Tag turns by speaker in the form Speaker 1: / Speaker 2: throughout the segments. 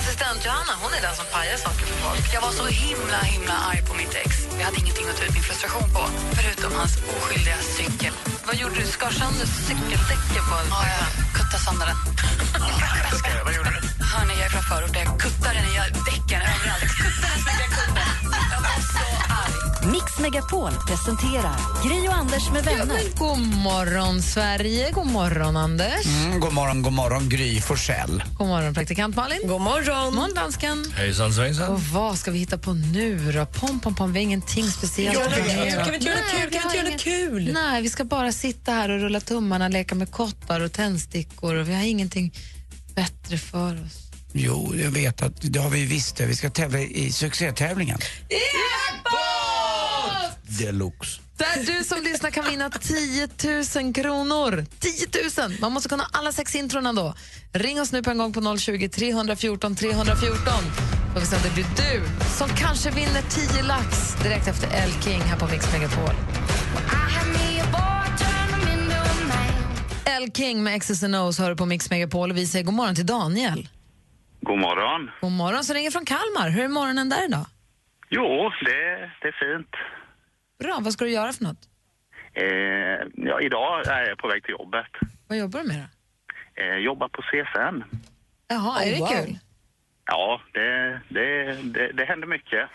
Speaker 1: Assistent Johanna hon är den som pajar saker för folk. Jag var så himla himla arg på mitt ex. Jag hade ingenting att ta ut min frustration på, förutom hans oskyldiga cykel. Vad gjorde du? Skar sönder cykeldäcken på Ja, jag kuttade sönder den. Vad gjorde du? Hörni, jag är från förorten. Jag kuttade den i däcken överallt. Jag Kuttade så mycket jag kunde. Jag var så arg.
Speaker 2: Mix Megapol presenterar Gry och Anders med
Speaker 3: Ja,
Speaker 2: vänner.
Speaker 3: men god morgon, Sverige. God morgon, Anders.
Speaker 4: Mm, god morgon, god morgon, Gry Forssell.
Speaker 3: God morgon, praktikant Malin. God morgon. morgon, dansken.
Speaker 5: Hejsan svejsan.
Speaker 3: Och vad ska vi hitta på nu då? Pom, pom, pom. Vi har ingenting speciellt.
Speaker 6: Kan vi inte göra
Speaker 3: att göra.
Speaker 6: något
Speaker 3: Nej,
Speaker 6: kul? Kan
Speaker 3: vi
Speaker 6: vi
Speaker 3: har
Speaker 6: inte göra
Speaker 3: inget-
Speaker 6: något kul?
Speaker 3: Nej, vi ska bara sitta här och rulla tummarna, leka med kottar och tändstickor och vi har ingenting bättre för oss.
Speaker 4: Jo, jag vet att det har vi visst det. Vi ska tävla i succétävlingen. Deluxe.
Speaker 3: Där du som lyssnar kan vinna 10 000 kronor. 10 000! Man måste kunna alla sex introna då. Ring oss nu på en gång på 020 314 314. Får vi se om det blir du som kanske vinner 10 lax direkt efter El King här på Mix Megapol. El King med X's and O's hör du på Mix Megapol och vi säger god morgon till Daniel.
Speaker 7: God morgon.
Speaker 3: God morgon, så ringer från Kalmar. Hur är morgonen där idag?
Speaker 7: Jo, det, det är fint.
Speaker 3: Bra, vad ska du göra för något?
Speaker 7: Eh, ja, idag är jag på väg till jobbet.
Speaker 3: Vad jobbar du med då?
Speaker 7: Eh, jobbar på CSN.
Speaker 3: Jaha, är det
Speaker 6: Oh,
Speaker 3: kul?
Speaker 7: Ja, det, det, det, det händer mycket.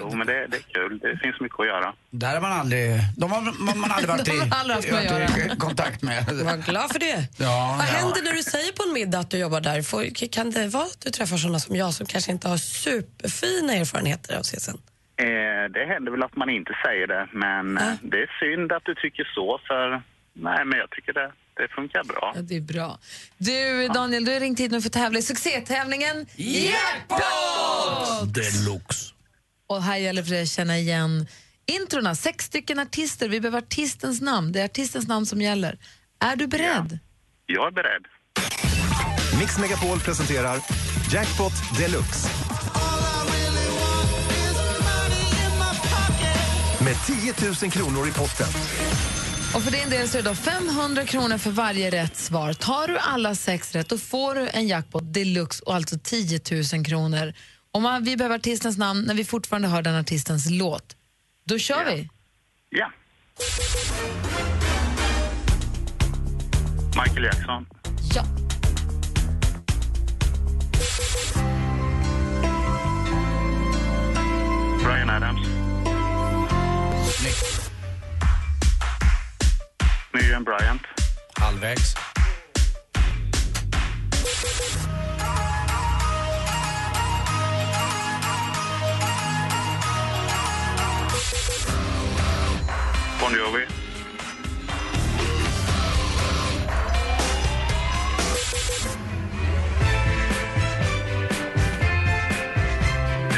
Speaker 7: jo, men det, det är kul. Det finns mycket att göra.
Speaker 4: Där har man aldrig, de har man, man aldrig varit
Speaker 3: De
Speaker 4: i,
Speaker 3: har aldrig haft med
Speaker 4: varit
Speaker 3: att
Speaker 4: i kontakt med.
Speaker 6: Var glad för det.
Speaker 4: Ja,
Speaker 6: Vad
Speaker 4: ja.
Speaker 6: händer när du säger på en middag att du jobbar där? Får, kan det vara att du träffar såna som jag som kanske inte har superfina erfarenheter av CSN?
Speaker 7: Eh, det händer väl att man inte säger det, men eh, det är synd att du tycker så, för nej, men jag tycker det, det funkar bra.
Speaker 3: Ja, det är bra. Du, Daniel, du har ringt hit nu för att tävla i succétävlingen Jackpot!
Speaker 5: Deluxe.
Speaker 3: Och här gäller det att känna igen introna. Sex stycken artister. Vi behöver artistens namn. Det är artistens namn som gäller. Är du beredd?
Speaker 7: Jag är beredd.
Speaker 8: Mix Megapol presenterar Jackpot Deluxe. Med 10 000 kronor i potten.
Speaker 3: Och för din del så är det då 500 kronor för varje rätt svar. Tar du alla sex rätt då får du en jackpot deluxe och alltså 10 000 kronor. Om man, vi behöver artistens namn när vi fortfarande hör den artistens låt. Då kör
Speaker 7: Ja.
Speaker 3: vi!
Speaker 7: Ja. Michael Jackson.
Speaker 3: Ja.
Speaker 7: Brian Adams. Miriam Bryant.
Speaker 4: Halvvägs.
Speaker 7: Bon Jovi.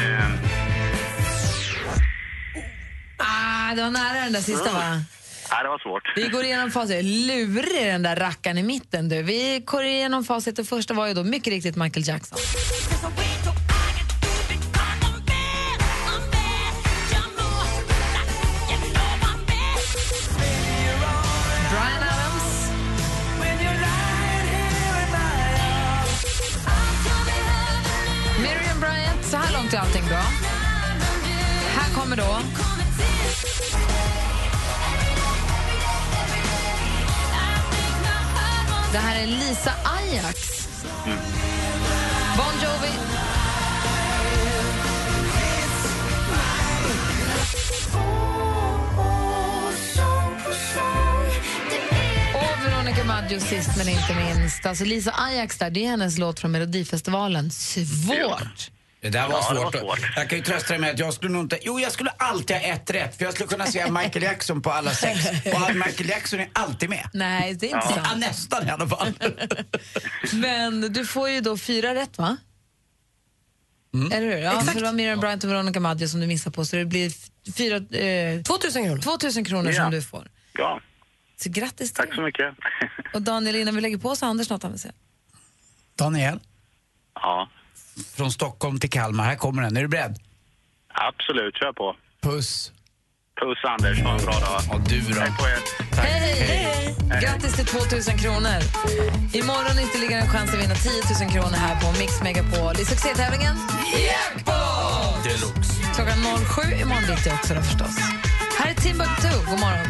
Speaker 7: Ehm,
Speaker 3: Ah, det var nära den där sista va?
Speaker 7: Nej, det var svårt.
Speaker 3: Vi går igenom facit. Lurig den där rackaren i mitten du. Vi går igenom facit. Det första var ju då mycket riktigt Michael Jackson. Bryan Adams. Miriam Bryant. Så här långt är allting bra. Här kommer då... Det här är Lisa Ajax. Bon Jovi. Och Veronica Maggio sist men inte minst. Alltså Lisa Ajax där, det är hennes låt från Melodifestivalen. Svårt!
Speaker 4: Det där var,
Speaker 7: Ja, det var
Speaker 4: svårt.
Speaker 7: svårt.
Speaker 4: Jag kan ju trösta dig med att jag skulle nog inte... Jo, jag skulle alltid ha ett rätt. För jag skulle kunna säga Michael Jackson på alla sex. Och han- Michael Jackson är alltid med.
Speaker 3: Nej, det är inte
Speaker 4: Ja,
Speaker 3: sant.
Speaker 4: nästan i alla fall.
Speaker 3: Men du får ju då fyra rätt va? Eller hur? Ja,
Speaker 8: Exakt.
Speaker 3: Så det var Miriam Bryant och Veronica Maggio som du missar på, så det blir f- fyra, eh,
Speaker 8: 2000 kronor.
Speaker 3: 2000 kronor
Speaker 9: Ja.
Speaker 3: som du får.
Speaker 9: Ja,
Speaker 3: Så grattis till
Speaker 9: tack så
Speaker 3: dig.
Speaker 9: mycket.
Speaker 3: Och Daniel, innan vi lägger på så har Anders något han vill säga.
Speaker 4: Daniel,
Speaker 9: ja,
Speaker 4: från Stockholm till Kalmar. Här kommer den. Är du beredd?
Speaker 9: absolut. Kör på.
Speaker 4: Puss.
Speaker 9: Puss Anders, ha en bra dag.
Speaker 4: Ja, du då?
Speaker 9: Hej på er.
Speaker 3: Hej! Grattis till 2000 kronor. Imorgon ytterligare en chans att vinna 10 000 kronor här på Mix Megapol i succétävlingen Jackpot!
Speaker 4: Deluxe.
Speaker 3: Klockan 07 imorgon bitti också då förstås. Här är Timbuktu, god morgon.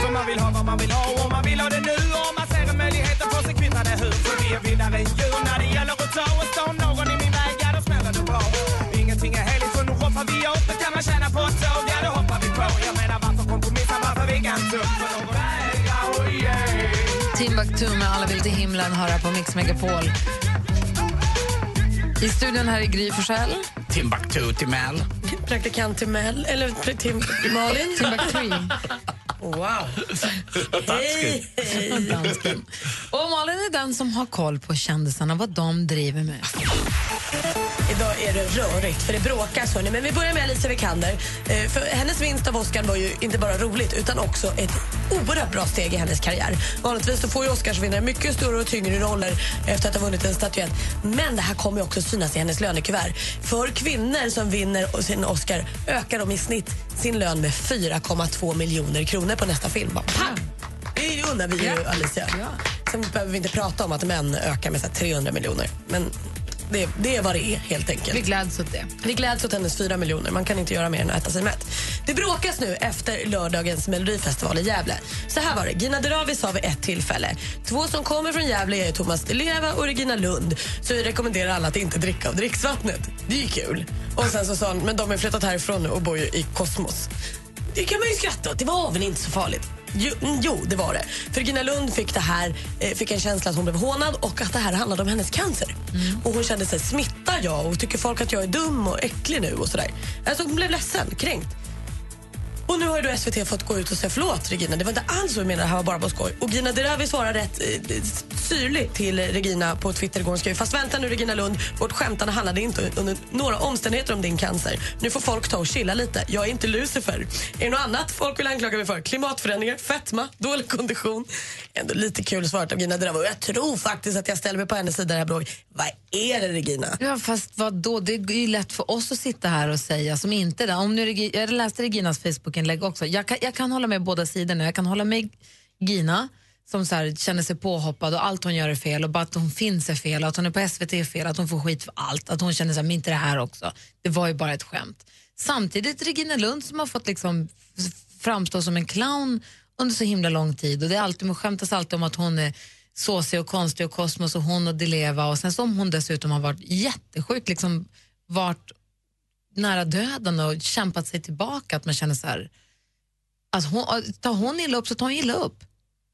Speaker 10: För man vill ha vad man vill ha och man vill ha det nu Och om man ser en möjlighet att få sig kvitta det hus För vi är vinnare i djur när det gäller att ta och stå någon i min väg, ja då smäller det bra Ingenting är heligt så nu hoppar vi upp Det kan man tjäna på ett tåg, ja då hoppar vi på Jag menar varför kompromissa, varför vi kan tro För någon väg, ja oh yeah
Speaker 3: Timbuktu med Alla vill till himlen hör här på Mix Megapol. I studion här är Gry Forssell.
Speaker 4: Timbuktu till Mel.
Speaker 8: Praktikant till Mel, eller pra- till Malin.
Speaker 3: Timbuktu.
Speaker 8: Wow. Hej.
Speaker 3: dansken. Och Malin är den som har koll på kändisarna, vad de driver med.
Speaker 8: Idag är det rörigt, för det bråkas. Hörni. Men vi börjar med Alicia Vikander. Eh, för hennes vinst av Oscar var ju inte bara roligt utan också ett oerhört bra steg i hennes karriär. Vanligtvis så får ju Oscarsvinnare mycket större och tyngre roller efter att ha vunnit en statyett. Men det här kommer ju också synas i hennes lönekuvert. För kvinnor som vinner sin Oscar ökar de i snitt sin lön med 4,2 miljoner kronor på nästa film. Bara, pang! Det undrar vi ju Alicia. Sen behöver vi inte prata om att män ökar med så här 300 miljoner. Men det, det är vad det är helt enkelt.
Speaker 3: Vi gläds åt det.
Speaker 8: Vi gläds åt hennes fyra miljoner. Man kan inte göra mer än att äta sig mätt. Det bråkas nu efter lördagens Melodifestival i Gävle. Så här var det. Gina Dirawi sa vid ett tillfälle. Två som kommer från Gävle är Thomas Di Leva och Regina Lund. Så vi rekommenderar alla att inte dricka av dricksvattnet. Det är ju kul. Och sen så sa hon, men de har flyttat härifrån nu och bor ju i Kosmos. Det kan man ju skratta åt. Det var väl inte så farligt? Jo, mm, jo det var det. För Gina Lund fick, det här, eh, fick en känsla att hon blev hånad och att det här handlade om hennes cancer. Och Hon kände sig smittar jag och tycker folk att jag är dum och äcklig nu? och sådär. Alltså Hon blev ledsen, kränkt. Och nu har ju då SVT fått gå ut och säga förlåt Regina, det var inte alls vad vi menade, det här var bara på skoj. Och Gina Dirawi svarar rätt eh, syrligt till Regina på Twitter igår. Hon skrev, fast vänta nu Regina Lund, vårt skämtande handlade inte under några omständigheter om din cancer. Nu får folk ta och chilla lite. Jag är inte Lucifer. Är det något annat folk vill anklaga mig för? Klimatförändringar, fetma, dålig kondition. Ändå lite kul svarat av Gina Dirawi. Och Jag tror faktiskt att jag ställer mig på hennes sida i det här bråket. Vad är det Regina?
Speaker 3: Ja, fast vad då? Det är ju lätt för oss att sitta här och säga som inte är där. Om nu Regi- jag läste Reginas Facebookinlägg också. Jag kan, jag kan hålla med båda sidorna. Jag kan hålla med Gina som så här, känner sig påhoppad och allt hon gör är fel och bara att hon finns är fel, att hon är på SVT är fel, att hon får skit för allt, att hon känner sig inte det här också. Det var ju bara ett skämt. Samtidigt Regina Lund som har fått liksom f- framstå som en clown under så himla lång tid och det är alltid, man skämtas alltid om att hon är såsig och konstig och kosmos och hon och Dileva och sen som hon dessutom har varit jättesjuk, liksom varit nära döden och kämpat sig tillbaka, att man känner så här, att hon, tar hon illa upp så tar hon illa upp.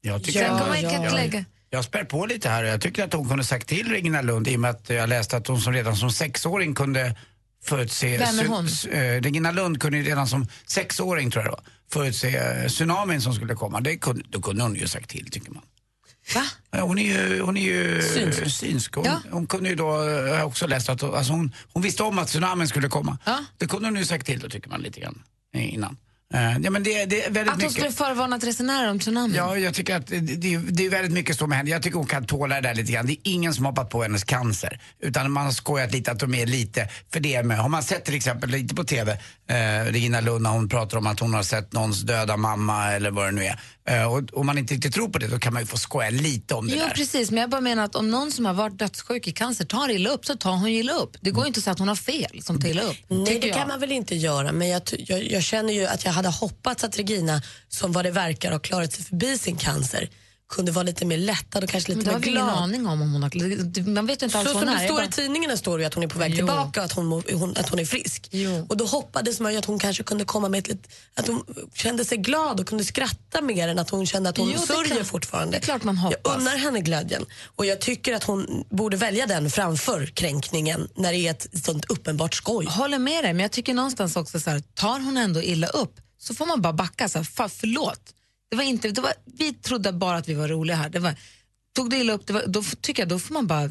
Speaker 4: Jag tycker
Speaker 3: Sen
Speaker 4: att-
Speaker 3: kommer man inte att
Speaker 4: ja.
Speaker 3: lägga...
Speaker 4: Jag spär på lite här och jag tycker att hon kunde sagt till Regina Lund i och med att jag läste att hon som redan som sexåring kunde förutse...
Speaker 3: Vem är
Speaker 4: tsu-
Speaker 3: hon?
Speaker 4: s- eh, Regina Lund kunde ju redan som sexåring tror jag då, förutse eh, tsunamin som skulle komma. Det kunde, då kunde hon ju sagt till tycker man.
Speaker 3: Va?
Speaker 4: Ja, Hon är ju, hon är ju
Speaker 8: Synsk.
Speaker 4: synsk. Hon,
Speaker 3: Ja.
Speaker 4: hon kunde ju då, eh, jag har också läst att alltså hon, hon visste om att tsunamin skulle komma.
Speaker 3: Ja.
Speaker 4: Det kunde hon ju sagt till då tycker man lite grann eh, innan. Eh, Ja, men det, det är väldigt
Speaker 3: Att hon
Speaker 4: mycket.
Speaker 3: skulle förvarnat resenärer om tsunamin?
Speaker 4: Ja, jag tycker att det, det, det är väldigt mycket så med henne. Jag tycker hon kan tåla det där lite grann. Det är ingen som har hoppat på hennes cancer. Utan man har skojat lite att de är lite för det med. Har man sett till exempel lite på TV, eh, Regina Lund när hon pratar om att hon har sett någons döda mamma eller vad det nu är. Eh, och om man inte riktigt tror på det då kan man ju få skoja lite om det
Speaker 3: Jo,
Speaker 4: där.
Speaker 3: precis, men jag bara menar att om någon som har varit dödssjuk i cancer tar illa upp så tar hon illa upp. Det går ju inte att säga att hon har fel som tar illa upp.
Speaker 8: Nej,
Speaker 3: tycker
Speaker 8: Mm. det kan
Speaker 3: jag.
Speaker 8: man väl inte göra, men jag, ty- jag, jag känner ju att jag hade hoppats att Regina, som vad det verkar har klarat sig förbi sin cancer, kunde vara lite mer lättad och kanske
Speaker 3: Men
Speaker 8: lite
Speaker 3: det har
Speaker 8: mer
Speaker 3: vi ingen
Speaker 8: glad.
Speaker 3: aning om. om hon har... Man vet ju inte
Speaker 8: Så
Speaker 3: alls vad
Speaker 8: som
Speaker 3: hon är.
Speaker 8: det
Speaker 3: Jag
Speaker 8: står
Speaker 3: bara-
Speaker 8: i tidningarna står det ju att hon är på väg
Speaker 3: Jo.
Speaker 8: tillbaka och att hon, mår- hon, att hon är frisk.
Speaker 3: Jo.
Speaker 8: Och då hoppades man ju att hon kanske kunde komma med ett lit- att hon kände sig glad och kunde skratta mer än att hon kände att hon
Speaker 3: Jo, det är
Speaker 8: sörjer
Speaker 3: klart.
Speaker 8: fortfarande.
Speaker 3: Det är klart man hoppas.
Speaker 8: Jag unnar henne glädjen och jag tycker att hon borde välja den framför kränkningen när det är ett sånt uppenbart skoj.
Speaker 3: håller med dig, men jag tycker någonstans också så här, tar hon ändå illa upp så får man bara backa. Så här, fan, förlåt. Det var inte, det var, vi trodde bara att vi var roliga här. Det var, tog du illa upp, det var, då f- tycker jag då får man bara,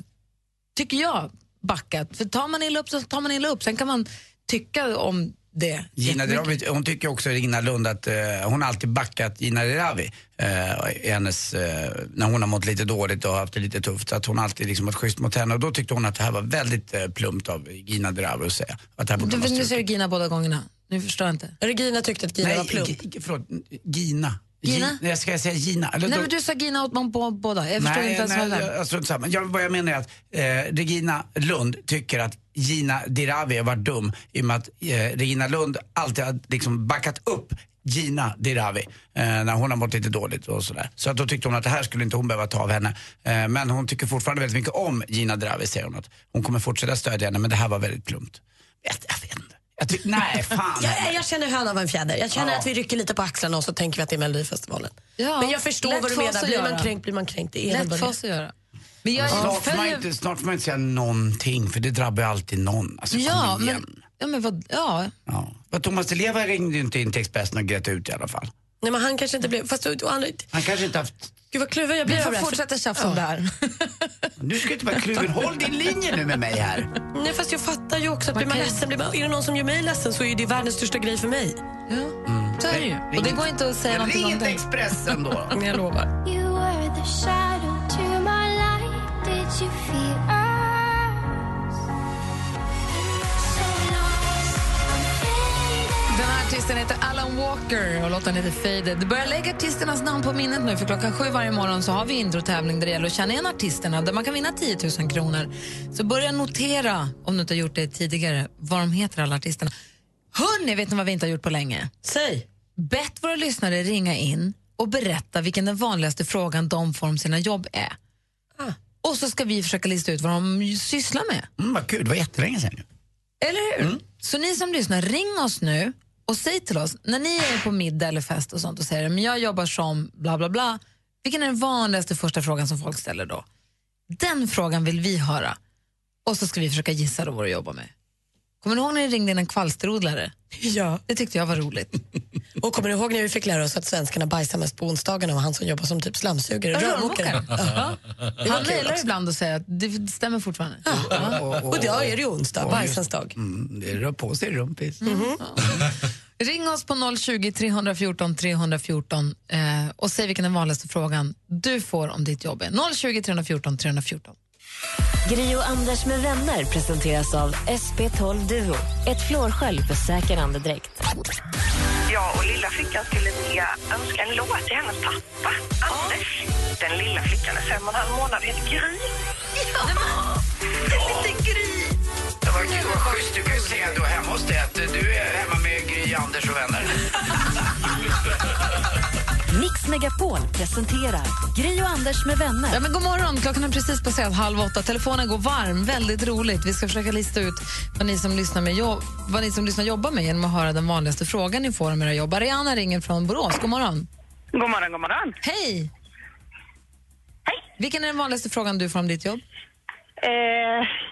Speaker 3: tycker jag, backa. För tar man illa upp så tar man illa upp. Sen kan man tycka om det.
Speaker 4: Gina Dirawi, hon tycker också Regina Lund att eh, hon har alltid backat Gina Dirawi eh, i hennes, eh, när hon har mått lite dåligt och haft det lite tufft. Så att hon alltid liksom varit schysst mot henne och då tyckte hon att det här var väldigt eh, plumpt av Gina Dirawi att säga. Att det här borde
Speaker 3: Du,
Speaker 4: vara
Speaker 3: nu säger
Speaker 4: struket.
Speaker 3: du Gina båda gångerna. Nu förstår jag inte.
Speaker 8: Regina tyckte att Gina var
Speaker 4: Nej,
Speaker 8: plump.
Speaker 4: G- G- förlåt, Gina.
Speaker 3: Gina?
Speaker 4: Gi- Nej, ska jag säga Gina? Eller
Speaker 3: Nej
Speaker 4: då-
Speaker 3: men du sa Gina åt man på båda. Jag förstår
Speaker 4: Nej,
Speaker 3: inte ens
Speaker 4: nej,
Speaker 3: vad det
Speaker 4: jag-
Speaker 3: är.
Speaker 4: alltså, samma. jag, vad jag menar är att eh, Regina Lund tycker att Gina Dirawi har varit dum i och med att eh, Regina Lund alltid har liksom backat upp Gina Dirawi eh, när hon har mått lite dåligt och sådär. Så att då tyckte hon att det här skulle inte hon behöva ta av henne. Eh, men hon tycker fortfarande väldigt mycket om Gina Dirawi säger hon att hon kommer fortsätta stödja henne men det här var väldigt plumpt. Jag, jag vet inte. Jag tycker, nej fan.
Speaker 8: Jag, jag känner hönan av en fjäder. Jag känner att vi rycker lite på axlarna och så tänker vi att det är Melodifestivalen.
Speaker 3: Ja,
Speaker 8: Men jag förstår
Speaker 3: lätt
Speaker 8: vad du
Speaker 3: för oss
Speaker 8: menar.
Speaker 3: att
Speaker 8: Blir
Speaker 3: göra.
Speaker 8: man kränkt blir man kränkt. Det är väl
Speaker 3: Lätt
Speaker 8: bara
Speaker 3: för
Speaker 8: det.
Speaker 3: oss att göra. Men jag,
Speaker 4: Snart får, man
Speaker 3: följer-
Speaker 4: inte, snart får man inte säga någonting för det drabbar ju alltid någon. Alltså,
Speaker 3: Ja,
Speaker 4: kom igen.
Speaker 3: men, ja, men vad, ja.
Speaker 4: Ja. Vad Thomas Di Leva ringde ju inte in till Expressen och grät ut i alla fall.
Speaker 8: Nej, men han kanske inte blev... Fast, och, och, han-
Speaker 4: Han kanske inte haft...
Speaker 8: gud vad kluven jag blir
Speaker 3: Vi
Speaker 8: av
Speaker 3: får
Speaker 8: det här.
Speaker 3: fortsätta tjafsa om det här.
Speaker 4: Du ska inte vara kluven. Håll din linje nu med mig här.
Speaker 8: Nej, fast jag fattar ju också att
Speaker 3: Man
Speaker 8: blir man
Speaker 3: kan-
Speaker 8: ledsen, blir man, är det någon som gör mig ledsen så är det världens största grej för mig.
Speaker 3: Ja. Så är det ju. Och det går inte att säga någonting
Speaker 4: Ring
Speaker 3: om
Speaker 4: inte
Speaker 3: det.
Speaker 4: Expressen då. Mm,
Speaker 3: Mm,
Speaker 8: Men jag lovar.
Speaker 3: Den här artisten heter Alan Walker och låten heter Faded. Du börjar lägga artisternas namn på minnet nu för klockan sju varje morgon så har vi introtävling där det gäller att känna igen artisterna där man kan vinna 10 000 kronor. Så börja notera, om du inte har gjort det tidigare, vad de heter alla artisterna. Hörni, vet ni vad vi inte har gjort på länge?
Speaker 8: Säg.
Speaker 3: Bett våra lyssnare ringa in och berätta vilken den vanligaste frågan de får om sina jobb är. Och så ska vi försöka lista ut vad de sysslar med.
Speaker 4: Mm, vad kul, det var jättelänge sedan nu.
Speaker 3: Eller hur? Så ni som lyssnar, ring oss nu och säg till oss, när ni är på middag eller fest och sånt och säger men jag jobbar som bla bla bla, vilken är den vanligaste första frågan som folk ställer då? Den frågan vill vi höra. Och så ska vi försöka gissa då vad du jobbar med. Kommer ni ihåg när ni ringde in en kvalsterodlare?
Speaker 8: Ja.
Speaker 3: Det tyckte jag var roligt.
Speaker 8: Och kommer du ihåg när vi fick lära oss att svenskarna bajsar mest på onsdagarna och han som jobbar som typ slamsugare?
Speaker 3: Rörmokare.
Speaker 8: Rörmokare.
Speaker 3: Ja. Han
Speaker 8: kul
Speaker 3: mejlar
Speaker 8: också.
Speaker 3: ibland och säger att det stämmer fortfarande. Ja.
Speaker 8: Och idag är det ju onsdag, bajsens dag.
Speaker 4: Mm, det rör på sig i rumpis.
Speaker 3: Mhm.
Speaker 4: Mm-hmm.
Speaker 3: Ring oss på 020 314 314 eh, och säg vilken den vanligaste frågan du får om ditt jobb är. 020 314 314.
Speaker 2: Gri och Anders med vänner presenteras av SP12 Duo. Ett flårskölj för säker andedräkt.
Speaker 1: Jag och lilla flickan skulle vilja önska en låt till hennes pappa, Anders. Den lilla flickan är fem och en halv månad heter Gry. Ja! Lite Gry.
Speaker 4: Det var kul, vad schysst. Du kan ju säga då hemma hos dig att du är hemma med Gry, Anders och vänner.
Speaker 2: Mix Megapol presenterar Gri och Anders med
Speaker 3: Ja,
Speaker 2: vänner.
Speaker 3: men god morgon, klockan har precis passerat halv åtta. Telefonen går varm, väldigt roligt. Vi ska försöka lista ut vad ni som lyssnar, med jobb, vad ni som lyssnar jobbar med genom att höra den vanligaste frågan ni får om era jobb. Ariana ringer från Borås. God morgon.
Speaker 1: God morgon, god morgon.
Speaker 3: Hej!
Speaker 1: Hej.
Speaker 3: Vilken är den vanligaste frågan du får om ditt jobb?
Speaker 1: Eh,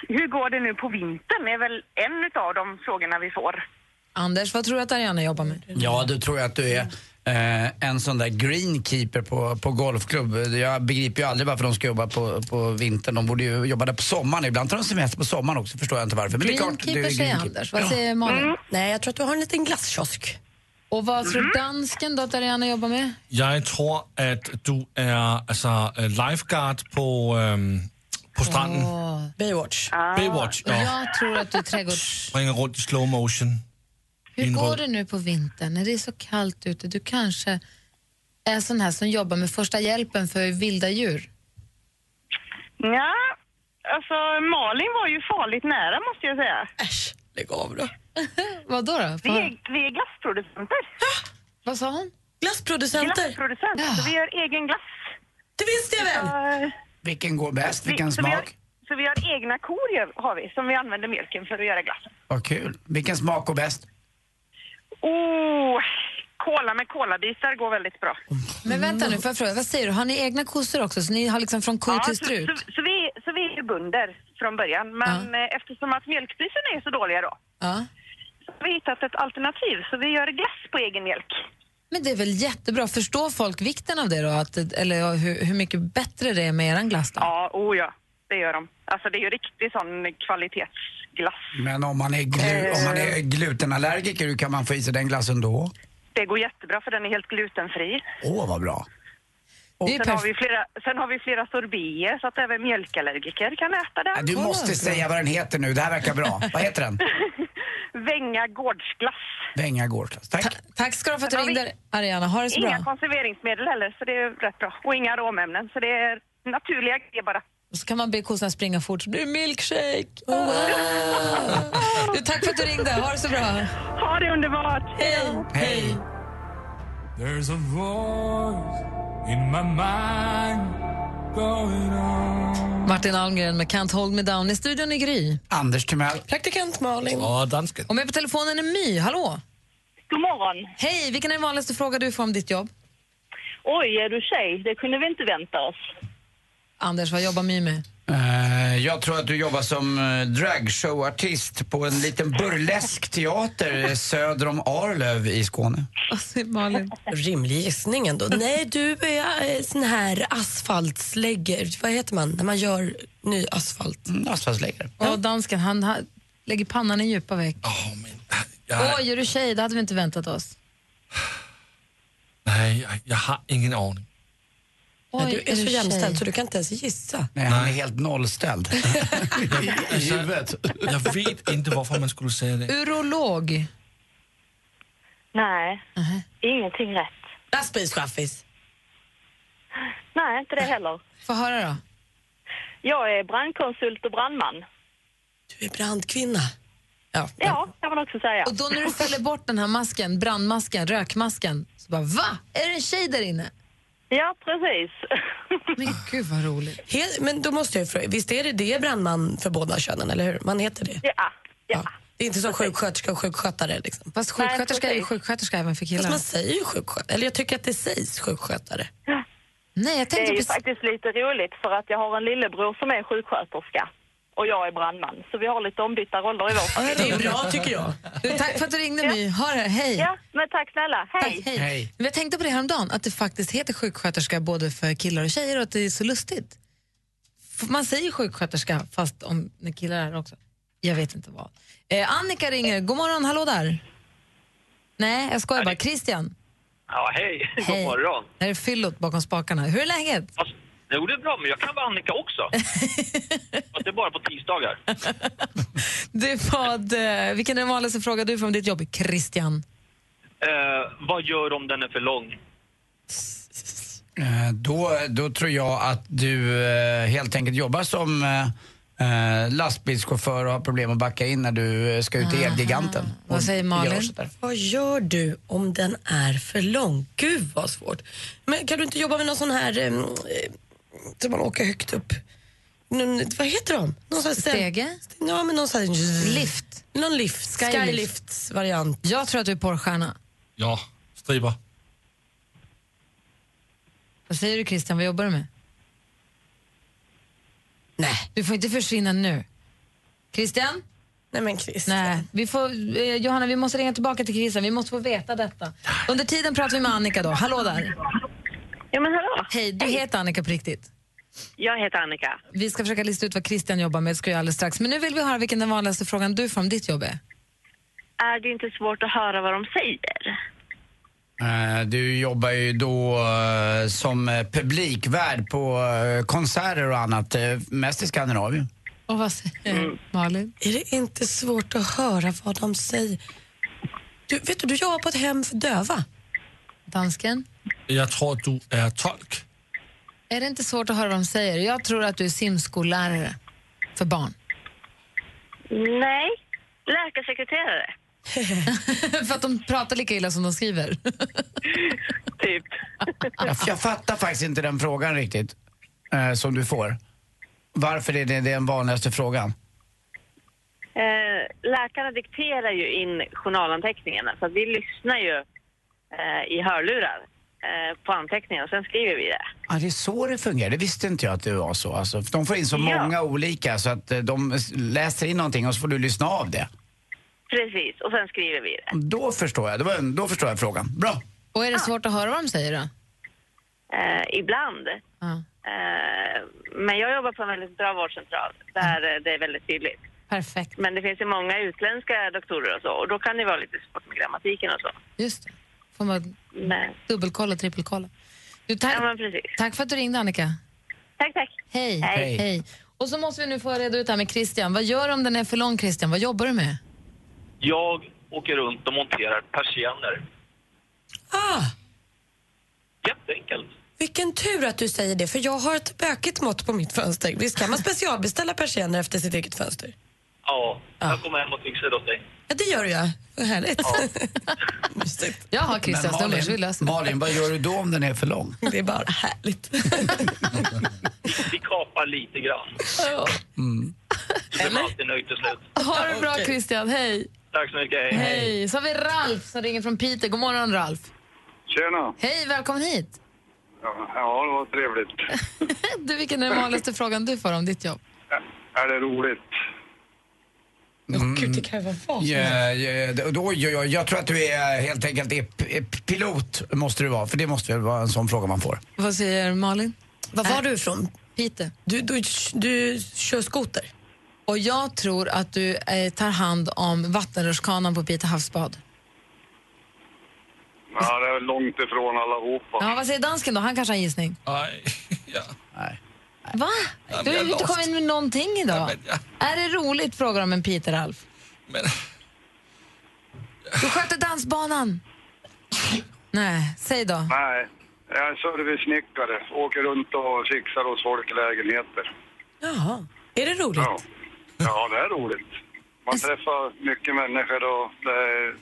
Speaker 1: hur går det nu på vintern? är väl en av de frågorna vi får.
Speaker 3: Anders, vad tror du att Ariana jobbar med?
Speaker 4: Ja, då tror jag att du är eh, en sån där greenkeeper på, på golfklubb. Jag begriper ju aldrig varför de ska jobba på, på vintern. De borde ju jobba där på sommaren. Ibland tar de semester på sommaren också, förstår jag inte varför. Men det är klart, du är
Speaker 3: Greenkeeper säger
Speaker 4: greenkeeper.
Speaker 3: Anders. Vad säger Malin?
Speaker 11: Mm.
Speaker 8: Nej, jag tror att du har en liten glasskiosk.
Speaker 3: Och vad tror dansken då att Ariana jobbar med?
Speaker 12: Jeg tror, at du er altså, øh, lifeguard på, øhm, på stranden.
Speaker 8: Baywatch.
Speaker 12: Baywatch,
Speaker 3: Och
Speaker 12: og
Speaker 3: jag tror att du är trädgårds...
Speaker 12: springer rundt i slow motion.
Speaker 3: Hur
Speaker 12: Min
Speaker 3: går
Speaker 12: råd.
Speaker 3: det nu på vintern när det är så kallt ute? Du kanske är sån här som jobbar med första hjälpen för vilda djur.
Speaker 1: Ja, alltså Malin var ju farligt nära måste jag säga.
Speaker 8: Äsch, lägg av då.
Speaker 3: Vad då? då?
Speaker 1: Vi
Speaker 3: Vad,
Speaker 1: är, vi är glassproducenter.
Speaker 3: vad sa hon?
Speaker 8: Glassproducenter.
Speaker 1: Glassproducent. Så vi gör egen glass.
Speaker 8: Det visste jag väl!
Speaker 1: Eh,
Speaker 4: Vilken går bäst?
Speaker 1: vi-
Speaker 4: Vilken
Speaker 1: så vi har-
Speaker 4: smak?
Speaker 1: Så vi har egna kor gör- har vi, som vi använder mjölken för att göra glass.
Speaker 4: Vad kul. Vilken smak går bäst?
Speaker 1: Oh, kola med kolabitar går väldigt bra.
Speaker 3: Men vänta nu, får jag fråga, vad säger du? Har ni egna kossor också? Så ni har liksom från ko till
Speaker 1: så,
Speaker 3: strut?
Speaker 1: så, så, vi, så vi är ju bönder från början, men eh, eftersom att mjölkpriserna är så dåliga då
Speaker 3: Ja.
Speaker 1: så har vi hittat ett alternativ, så vi gör glass på egen mjölk.
Speaker 3: Men det är väl jättebra. Förstår folk vikten av det då? Att, eller hur, hur mycket bättre det är med eran glass då?
Speaker 1: Ja, oh ja.
Speaker 11: det gör de. Alltså det är ju riktigt sån kvalitetsglass.
Speaker 4: Men om man är, glu- om man är glutenallergiker, hur kan man få i sig den glassen då?
Speaker 11: Det går jättebra för den är helt glutenfri.
Speaker 4: Åh, vad bra.
Speaker 3: Det är
Speaker 11: sen, har
Speaker 3: perf-
Speaker 11: vi flera, sen har vi flera sorbier så att även mjölkallergiker kan äta den.
Speaker 4: Du måste säga vad den heter nu, det här verkar bra. Vad heter den?
Speaker 11: Vänga gårdsglass.
Speaker 4: Vänga gårdsglass. Tack.
Speaker 3: Tack ska du ha för att du
Speaker 11: Sen har vi-
Speaker 3: ringde, Ariana. Ha det så
Speaker 11: Inga
Speaker 3: bra.
Speaker 11: konserveringsmedel heller, så det är rätt bra. Och inga aromämnen, så det är naturliga grejer bara.
Speaker 3: Och så kan man be kossorna springa fort så blir det milkshake. Du, tack för att du ringde. Ha det så bra.
Speaker 11: Ha det underbart.
Speaker 3: Hej.
Speaker 4: Hej.
Speaker 13: There's a voice in my mind going on.
Speaker 3: Martin Almgren med Can't hold me down. I studion i Gry.
Speaker 4: Anders Timell.
Speaker 1: Praktikant Malin.
Speaker 14: Ja, dansken.
Speaker 3: Och med på telefonen är My. Hallå!
Speaker 8: God morgon.
Speaker 3: Hej! Vilken är den vanligaste frågan du får om ditt jobb?
Speaker 8: Oj, är du tjej? Det kunde vi inte vänta oss.
Speaker 3: Anders, vad jobbar My med?
Speaker 4: Eh, Jag tror att du jobbar som eh, dragshowartist på en liten burleskteater eh, söder om Arlöv i Skåne.
Speaker 1: Alltså,
Speaker 3: Malin.
Speaker 1: Rimlig gissning ändå. Nej, du är eh, sån här asfaltslägger. Vad heter man när man gör ny asfalt?
Speaker 4: Mm, asfaltslägger.
Speaker 3: Och dansken, han, han lägger pannan i djupa veck.
Speaker 14: Jag,
Speaker 3: Oj, är du tjej? Det hade vi inte väntat oss.
Speaker 14: nej, jag, jag har ingen aning.
Speaker 3: Oj,
Speaker 1: Nej, du är,
Speaker 3: är
Speaker 1: så
Speaker 3: du
Speaker 1: jämställd
Speaker 3: tjej?
Speaker 1: så du kan inte ens gissa.
Speaker 4: Nej, han är helt nollställd. I huvudet.
Speaker 14: Jag vet inte varför man skulle säga det.
Speaker 3: Urolog.
Speaker 8: Nej, ingenting rätt.
Speaker 1: Lastbilschaffis.
Speaker 8: Nej, inte det heller.
Speaker 3: Få höra då.
Speaker 8: Jag är brandkonsult och brandman.
Speaker 1: Du är brandkvinna. Ja,
Speaker 8: Ja, kan man också säga.
Speaker 3: Och då när du fäller bort den här masken, brandmasken, rökmasken, så bara va? Är det en tjej där inne?
Speaker 8: Ja, precis.
Speaker 3: Men gud vad roligt.
Speaker 1: He- men då måste jag fråga, visst är det det brandman för båda könen, eller hur? Man heter det?
Speaker 8: Ja.
Speaker 1: Det är inte som sjuksköterska och sjukskötare liksom.
Speaker 3: Fast sjuksköterska är ju sjuksköterska även för
Speaker 1: Fast
Speaker 3: killar.
Speaker 1: man säger ju sjukskötare, eller jag tycker att det sägs sjukskötare.
Speaker 3: Nej, jag
Speaker 8: Det
Speaker 3: tänkte
Speaker 8: är ju
Speaker 3: precis-
Speaker 8: faktiskt lite roligt för att jag har en lillebror som är sjuksköterska och jag är brandman. Så vi har lite ombytta roller i vår familj.
Speaker 1: Det är bra tycker jag.
Speaker 3: Du, tack för att du ringde My. Ha det, hej.
Speaker 8: Ja, men tack snälla. Hej!
Speaker 3: Hej. Men jag tänkte på det häromdagen, att det faktiskt heter sjuksköterska både för killar och tjejer och att det är så lustigt. F- Man säger sjuksköterska fast om när killar är det också. Jag vet inte vad. Eh, Annika ringer. God morgon, hallå där. Nej, jag skojar bara. Christian,
Speaker 7: Ja, hej.
Speaker 3: Hej.
Speaker 7: God morgon.
Speaker 3: det här är fyllot bakom spakarna. Hur är läget?
Speaker 7: Jo, det är bra, men jag kan vara Annika också. Fast det är bara på tisdagar.
Speaker 3: Du, vad, eh, vilken är den vanligaste frågan du får om ditt jobb? Christian.
Speaker 7: Eh, vad gör om den är för lång?
Speaker 4: Eh, Då, då tror jag att du eh, helt enkelt jobbar som eh, eh, lastbilschaufför och har problem att backa in när du eh, ska ut i Elgiganten.
Speaker 1: Vad säger
Speaker 4: Malin? gör sådär.
Speaker 1: Vad gör du om den är för lång? Gud vad svårt. Men kan du inte jobba med någon sån här em, eh, som man åker högt upp? Någon, vad heter de? Någon sån här ställ-
Speaker 3: Stege?
Speaker 1: Ja, men någon sån här...
Speaker 3: Lift?
Speaker 1: Någon lift.
Speaker 3: Skylift.
Speaker 1: Skylifts variant.
Speaker 3: Jag tror att du är porrstjärna.
Speaker 14: Ja, striber.
Speaker 3: Vad säger du Christian, vad jobbar du med?
Speaker 1: Nej.
Speaker 3: Du får inte försvinna nu. Christian?
Speaker 1: Nej men Christian.
Speaker 3: Nej, vi får, eh, Johanna vi måste ringa tillbaka till Christian, vi måste få veta detta. Under tiden pratar vi med Annika då, hallå där.
Speaker 8: Ja men hallå.
Speaker 3: Hej, du heter Annika på riktigt.
Speaker 8: Jag heter Annika.
Speaker 3: Vi ska försöka lista ut vad Christian jobbar med, det ska jag göra alldeles strax. Men nu vill vi höra vilken den vanligaste frågan du får om ditt jobb är.
Speaker 8: Är det inte svårt att höra vad de säger?
Speaker 4: Eh, Du jobbar ju då eh, som eh, publikvärd på eh, konserter och annat, eh, mest i Skandinavien.
Speaker 3: Och vad säger
Speaker 1: Mm.
Speaker 3: Malin?
Speaker 1: Är det inte svårt att höra vad de säger? Du, vet du, du jobbar på ett hem för döva.
Speaker 3: Dansken?
Speaker 14: Jag tror att du är tolk.
Speaker 3: Är det inte svårt att höra vad de säger? Jag tror att du är simskollärare för barn.
Speaker 8: Nej. Läkarsekreterare.
Speaker 3: för att de pratar lika illa som de skriver.
Speaker 8: typ.
Speaker 4: Jag, jag fattar faktiskt inte den frågan riktigt, eh, som du får. Varför är det den vanligaste frågan?
Speaker 8: Eh, läkarna dikterar ju in journalanteckningarna så att vi lyssnar ju eh, i hörlurar eh, på anteckningarna och sen skriver vi det.
Speaker 4: Ja, det är så det fungerar. Det visste inte jag att det var så. Alltså, för de får in så
Speaker 8: Ja.
Speaker 4: många olika så att eh, de s- läser in någonting och så får du lyssna av det.
Speaker 8: Precis, och sen skriver vi det.
Speaker 4: Då förstår jag. Det var
Speaker 3: Ah.
Speaker 4: en, då förstår jag frågan. Bra.
Speaker 3: Och är det svårt att höra vad de säger då?
Speaker 8: Eh, ibland.
Speaker 15: Eh, Men jag jobbar på en väldigt bra vårdcentral där eh, det är väldigt tydligt.
Speaker 3: Perfekt.
Speaker 15: Men det finns ju många utländska doktorer och så och då kan det vara lite svårt med grammatiken och så.
Speaker 3: Just det. Får man
Speaker 15: Nej.
Speaker 3: dubbelkolla, trippelkolla. Du, tack, tack för att du ringde, Annika.
Speaker 15: Tack, tack.
Speaker 3: Hej.
Speaker 15: Hej.
Speaker 3: Hej. Och så måste vi nu få reda ut det här med Christian. Vad gör du om den är för lång, Christian? Vad jobbar du med?
Speaker 16: Jag åker runt och monterar persienner.
Speaker 8: Ah,
Speaker 16: Jätteenkelt.
Speaker 8: vilken tur att du säger det, för jag har ett bökigt mått på mitt fönster. Visst kan man specialbeställa persienner efter sitt eget fönster?
Speaker 16: Ja, jag kommer hem och fixar det åt dig.
Speaker 8: Ja, det gör jag. Vad härligt.
Speaker 3: Jag har
Speaker 4: Men
Speaker 3: Christians nummer, så vi
Speaker 4: Malin,
Speaker 3: löser det.
Speaker 4: Malin, vad gör du då om den är för lång?
Speaker 8: Det är bara härligt.
Speaker 16: Vi kapar lite grann.
Speaker 3: Ja.
Speaker 16: Så blir man alltid nöjd till slut.
Speaker 3: Ha det bra, Christian. Hej.
Speaker 16: Tack så mycket. Hej.
Speaker 3: Hej. Så har vi Ralf som ringer från Piteå. God morgon, Ralf.
Speaker 7: Tjena!
Speaker 3: Hej, välkommen hit.
Speaker 7: Ja, det var trevligt.
Speaker 3: Du, vilken är den vanligaste frågan du får om ditt jobb?
Speaker 7: Är det roligt?
Speaker 8: Gud, det kan ju vara vad
Speaker 4: Ja, ja, då- då, jag, jag, jag tror att du är helt enkelt är p- är p- pilot, måste du vara. För det måste väl vara en sån fråga man får.
Speaker 3: Vad säger Malin?
Speaker 8: Var
Speaker 7: Äh.
Speaker 8: var du ifrån?
Speaker 3: Pite.
Speaker 8: Du, du, du kör skoter?
Speaker 3: Och jag tror att du eh, tar hand om vattenrutschkanan på Pite havsbad.
Speaker 7: Ja, det är långt ifrån allihopa.
Speaker 3: Ja, vad säger dansken då? Han kanske har en gissning.
Speaker 12: Nej, ja.
Speaker 4: Nej.
Speaker 3: Va?
Speaker 12: men
Speaker 3: Du har
Speaker 12: jag
Speaker 3: ju inte
Speaker 12: lost.
Speaker 3: kommit in med någonting idag. Är det roligt, frågar de en Peter Alf.
Speaker 12: Men...
Speaker 3: Du sköter dansbanan. Nej, säg då.
Speaker 7: Nej, jag är servicesnickare. Åker runt och fixar hos folk i lägenheter.
Speaker 8: Jaha. Är det roligt?
Speaker 7: Ja. ja, det är roligt. Man träffar mycket människor och det är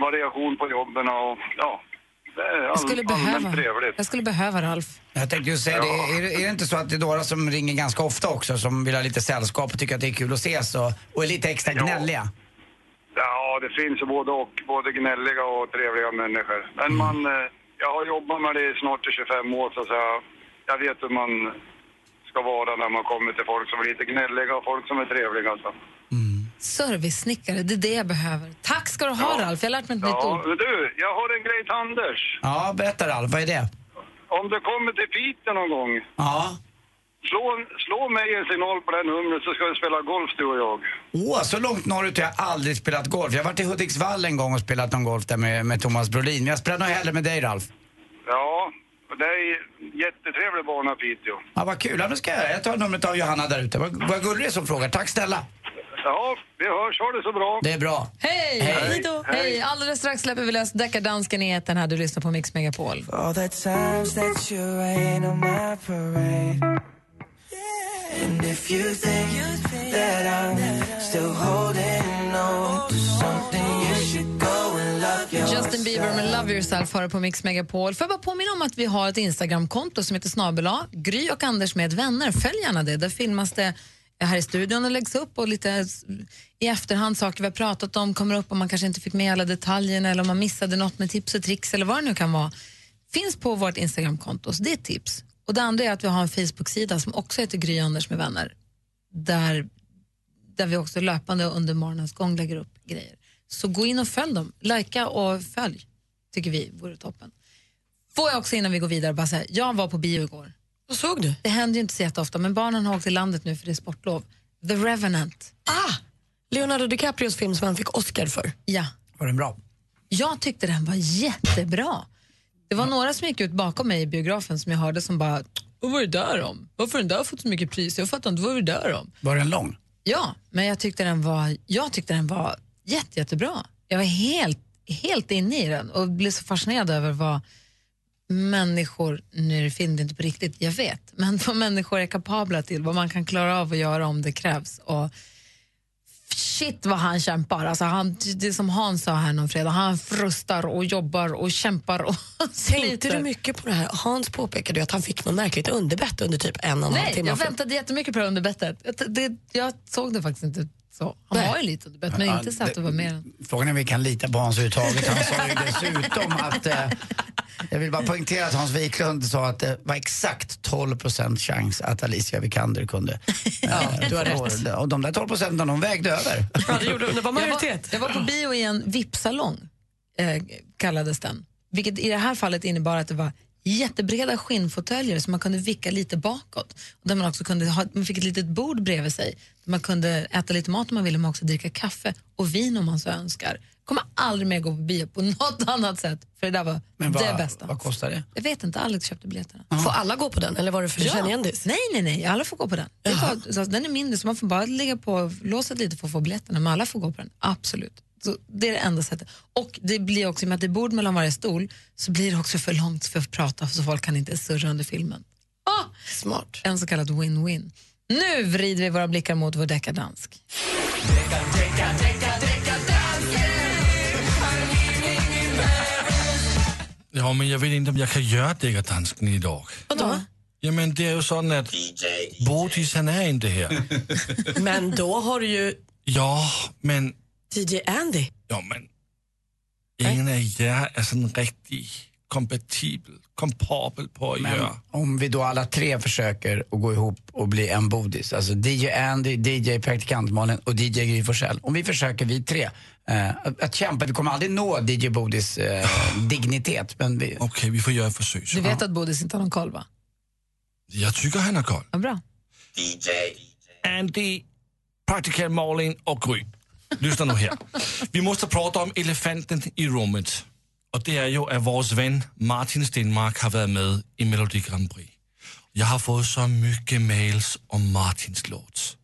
Speaker 7: variation på jobben och ja, det är all,
Speaker 3: Jag skulle
Speaker 7: allmänt
Speaker 3: behöva,
Speaker 7: trevligt.
Speaker 3: jag skulle behöva Ralf.
Speaker 4: Jag tänkte ju säga det, är, det- är det inte så att det är några som ringer ganska ofta också som vill ha lite sällskap och tycker att det är kul att ses och, och är lite extra gnälliga?
Speaker 7: Ja, det finns ju både och. Både gnälliga och trevliga människor. Men man,
Speaker 3: Mm.
Speaker 7: eh, jag har jobbat med det i snart i 25 år så att säga. Jag vet hur man ska vara när man kommer till folk som är lite gnälliga och folk som är trevliga. Så.
Speaker 3: Servicesnickare, det är det jag behöver. Tack ska du ha Ralf, jag har lärt mig ett nytt
Speaker 7: Ja,
Speaker 3: ord.
Speaker 7: men du, jag har en grej till Anders.
Speaker 4: Ja, berätta Ralf, vad är det?
Speaker 7: Om du kommer till Piteå någon gång,
Speaker 4: Ja.
Speaker 7: slå, slå mig en signal på det här numret så ska vi spela golf du och jag.
Speaker 4: Åh, så långt norrut har jag aldrig spelat golf. Jag har varit i Hudiksvall en gång och spelat någon golf där med, med Thomas Brolin. Men jag spelar nog hellre med dig Ralf.
Speaker 7: Ja, och det är en jättetrevlig bana Piteå.
Speaker 4: Ja, vad kul. Ja, nu ska jag, jag tar numret av Johanna där ute. Vad, vad gullig du är som frågar. Tack snälla.
Speaker 7: Ja, vi hörs. Ha det så bra.
Speaker 4: Det är bra.
Speaker 3: Hej!
Speaker 4: Hej
Speaker 3: då! Hej! Alldeles strax släpper vi lös deckardansken i etern här. Du lyssnar på Mix Megapol.
Speaker 17: All the times that you rain on my parade. And if you think that I'm still holding on to something, you should go and love yourself.
Speaker 3: Justin Bieber med Love Yourself hör på Mix Megapol. Får jag bara påminna om att vi har ett Instagramkonto som heter snabela Gry och Anders med vänner. Följ gärna det. Där filmas det här i studion och läggs upp och lite s- i efterhand saker vi har pratat om kommer upp om man kanske inte fick med alla detaljerna eller om man missade något med tips och tricks eller vad det nu kan vara. Finns på vårt Instagramkonto, så det är ett tips. Och det andra är att vi har en Facebook-sida som också heter Gry och Anders med vänner. Där där vi också löpande under morgonens gång lägger upp grejer. Så gå in och följ dem. Lajka och följ, tycker vi vore toppen. Får jag också innan vi går vidare bara säga, jag var på bio igår.
Speaker 8: Vad såg du?
Speaker 3: Det händer ju inte så jätteofta, men barnen har åkt till landet nu för det är sportlov. The Revenant.
Speaker 8: Ah! Leonardo DiCaprios film som han fick Oscar för.
Speaker 3: Ja.
Speaker 4: Var den bra?
Speaker 3: Jag tyckte den var jättebra. Det var några som gick ut bakom mig i biografen som jag hörde som bara, vad var det där om? Varför har den där fått så mycket pris? Jag fattar inte, vad var det där om?
Speaker 4: Var den lång?
Speaker 3: Ja, men jag tyckte den var, jag tyckte den var jätte, jättebra. Jag var helt, helt inne i den och blev så fascinerad över vad människor, nu är film det inte på riktigt, jag vet, men vad människor är kapabla till, vad man kan klara av att göra om det krävs. Och shit vad han kämpar. Alltså han, det är som Hans sa här någon fredag, han frustar och jobbar och kämpar och
Speaker 8: Tänkte du mycket på det här? Hans påpekade ju att han fick något märkligt underbett under typ en och en halv
Speaker 3: Nej,
Speaker 8: timme.
Speaker 3: jag
Speaker 8: av filmen.
Speaker 3: väntade jättemycket på det underbettet. Jag, t- det, jag såg det faktiskt inte så. Han
Speaker 4: Nej.
Speaker 3: var ju lite underbett, men
Speaker 4: Ja,
Speaker 3: inte så att det var mer än...
Speaker 4: Frågan är om vi kan lita på Hans överhuvudtaget. Han sa ju dessutom att... Eh, jag vill bara poängtera att Hans Wiklund sa att det var exakt 12 chans att Alicia Vikander kunde... ja,
Speaker 8: du har rätt.
Speaker 4: Och de där 12 procenten, de vägde över.
Speaker 3: Jag var, jag var på bio i en VIP-salong, eh, kallades den. Vilket i det här fallet innebar att det var jättebreda skinnfåtöljer som man kunde vicka lite bakåt. Och där man också kunde ha, man fick ett litet bord bredvid sig där man kunde äta lite mat om man ville men också dricka kaffe och vin om man så önskar. Kommer aldrig mer gå på bio på något annat sätt för det där var
Speaker 4: Men
Speaker 3: det
Speaker 4: vad,
Speaker 3: bästa.
Speaker 4: vad kostar det?
Speaker 3: Jag vet inte, Alex köpte biljetterna.
Speaker 18: Får alla gå på den eller var det för kändis?
Speaker 3: Nej, nej, nej, alla får gå på den. Det är bara, så att den är mindre så man får bara ligga på låset lite för att få biljetterna men alla får gå på den, absolut. Så det är det enda sättet. Och det blir också, i och med att det är bord mellan varje stol så blir det också för långt för att prata så folk kan inte surra under filmen. Ah!
Speaker 18: Smart.
Speaker 3: En så kallad win-win. Nu vrider vi våra blickar mot vår deckardansk.
Speaker 8: Ja, men jag vet inte om jag kan göra däckardansken idag.
Speaker 18: Vadå?
Speaker 8: Jamen, det är ju sådan att Bodis han är inte här.
Speaker 18: Men då har du ju
Speaker 8: Ja, men
Speaker 18: DJ Andy.
Speaker 8: Ja, men ingen av er är sådan riktigt kompatibel, kompabel på att göra.
Speaker 4: Om vi då alla tre försöker att gå ihop och bli en bodis, alltså DJ Andy, DJ Praktikantmalin och DJ Gry Forssell. Om vi försöker, vi tre, eh, att, att kämpa. Vi kommer aldrig nå DJ Bodis eh, dignitet. Men vi... Okej,
Speaker 8: vi får göra ett försök.
Speaker 3: Du vet att Bodis inte har någon koll va?
Speaker 8: Jag tycker han har koll.
Speaker 3: Ja, bra.
Speaker 8: DJ. Andy, Praktikant Malin och Gry. Lyssna nu här. Vi måste prata om elefanten i rummet. Och det är ju att vår vän Martin Stenmark har varit med i Melodi Grand Prix. Jag har fått så mycket mails om Martins låt.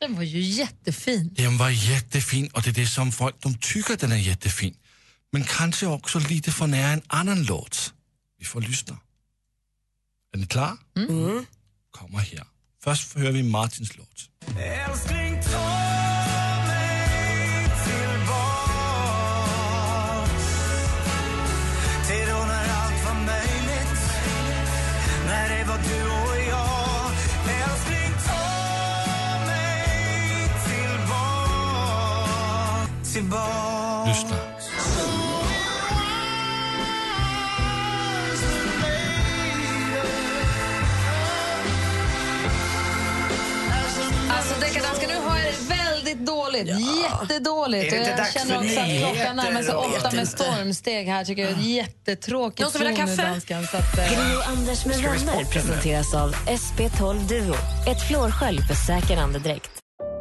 Speaker 3: Den var ju jättefin.
Speaker 8: Den var jättefin och det är det som folk de tycker den är jättefin. Men kanske också lite för nära en annan låt. Vi får lyssna. Är ni klara?
Speaker 18: Mm.
Speaker 8: Kommer här. Först hör vi Martins låt.
Speaker 10: Älskling, ta mig tillbaks Till då när allt var möjligt När det var du och jag Älskling, ta mig tillbaks Tillbaks
Speaker 8: Lyssna.
Speaker 3: Alltså deckardanska, nu har jag det väldigt dåligt. Jättedåligt.
Speaker 18: Är det
Speaker 3: Och
Speaker 18: inte
Speaker 3: jag
Speaker 18: dags
Speaker 3: känner
Speaker 18: för
Speaker 3: också att
Speaker 18: nyheter?
Speaker 3: klockan närmar sig
Speaker 18: Jag vet
Speaker 3: åtta med
Speaker 18: inte.
Speaker 3: stormsteg här. Tycker jag är jättetråkigt.
Speaker 18: Någon som vill ha
Speaker 3: ton i
Speaker 18: kaffe?
Speaker 3: Danskan, så att, eh,
Speaker 1: Gri och Anders med
Speaker 3: Ska vi
Speaker 1: vänner
Speaker 3: sporta nu?
Speaker 1: presenteras av SP12 Duo. Ett flårskölj för säker andedräkt.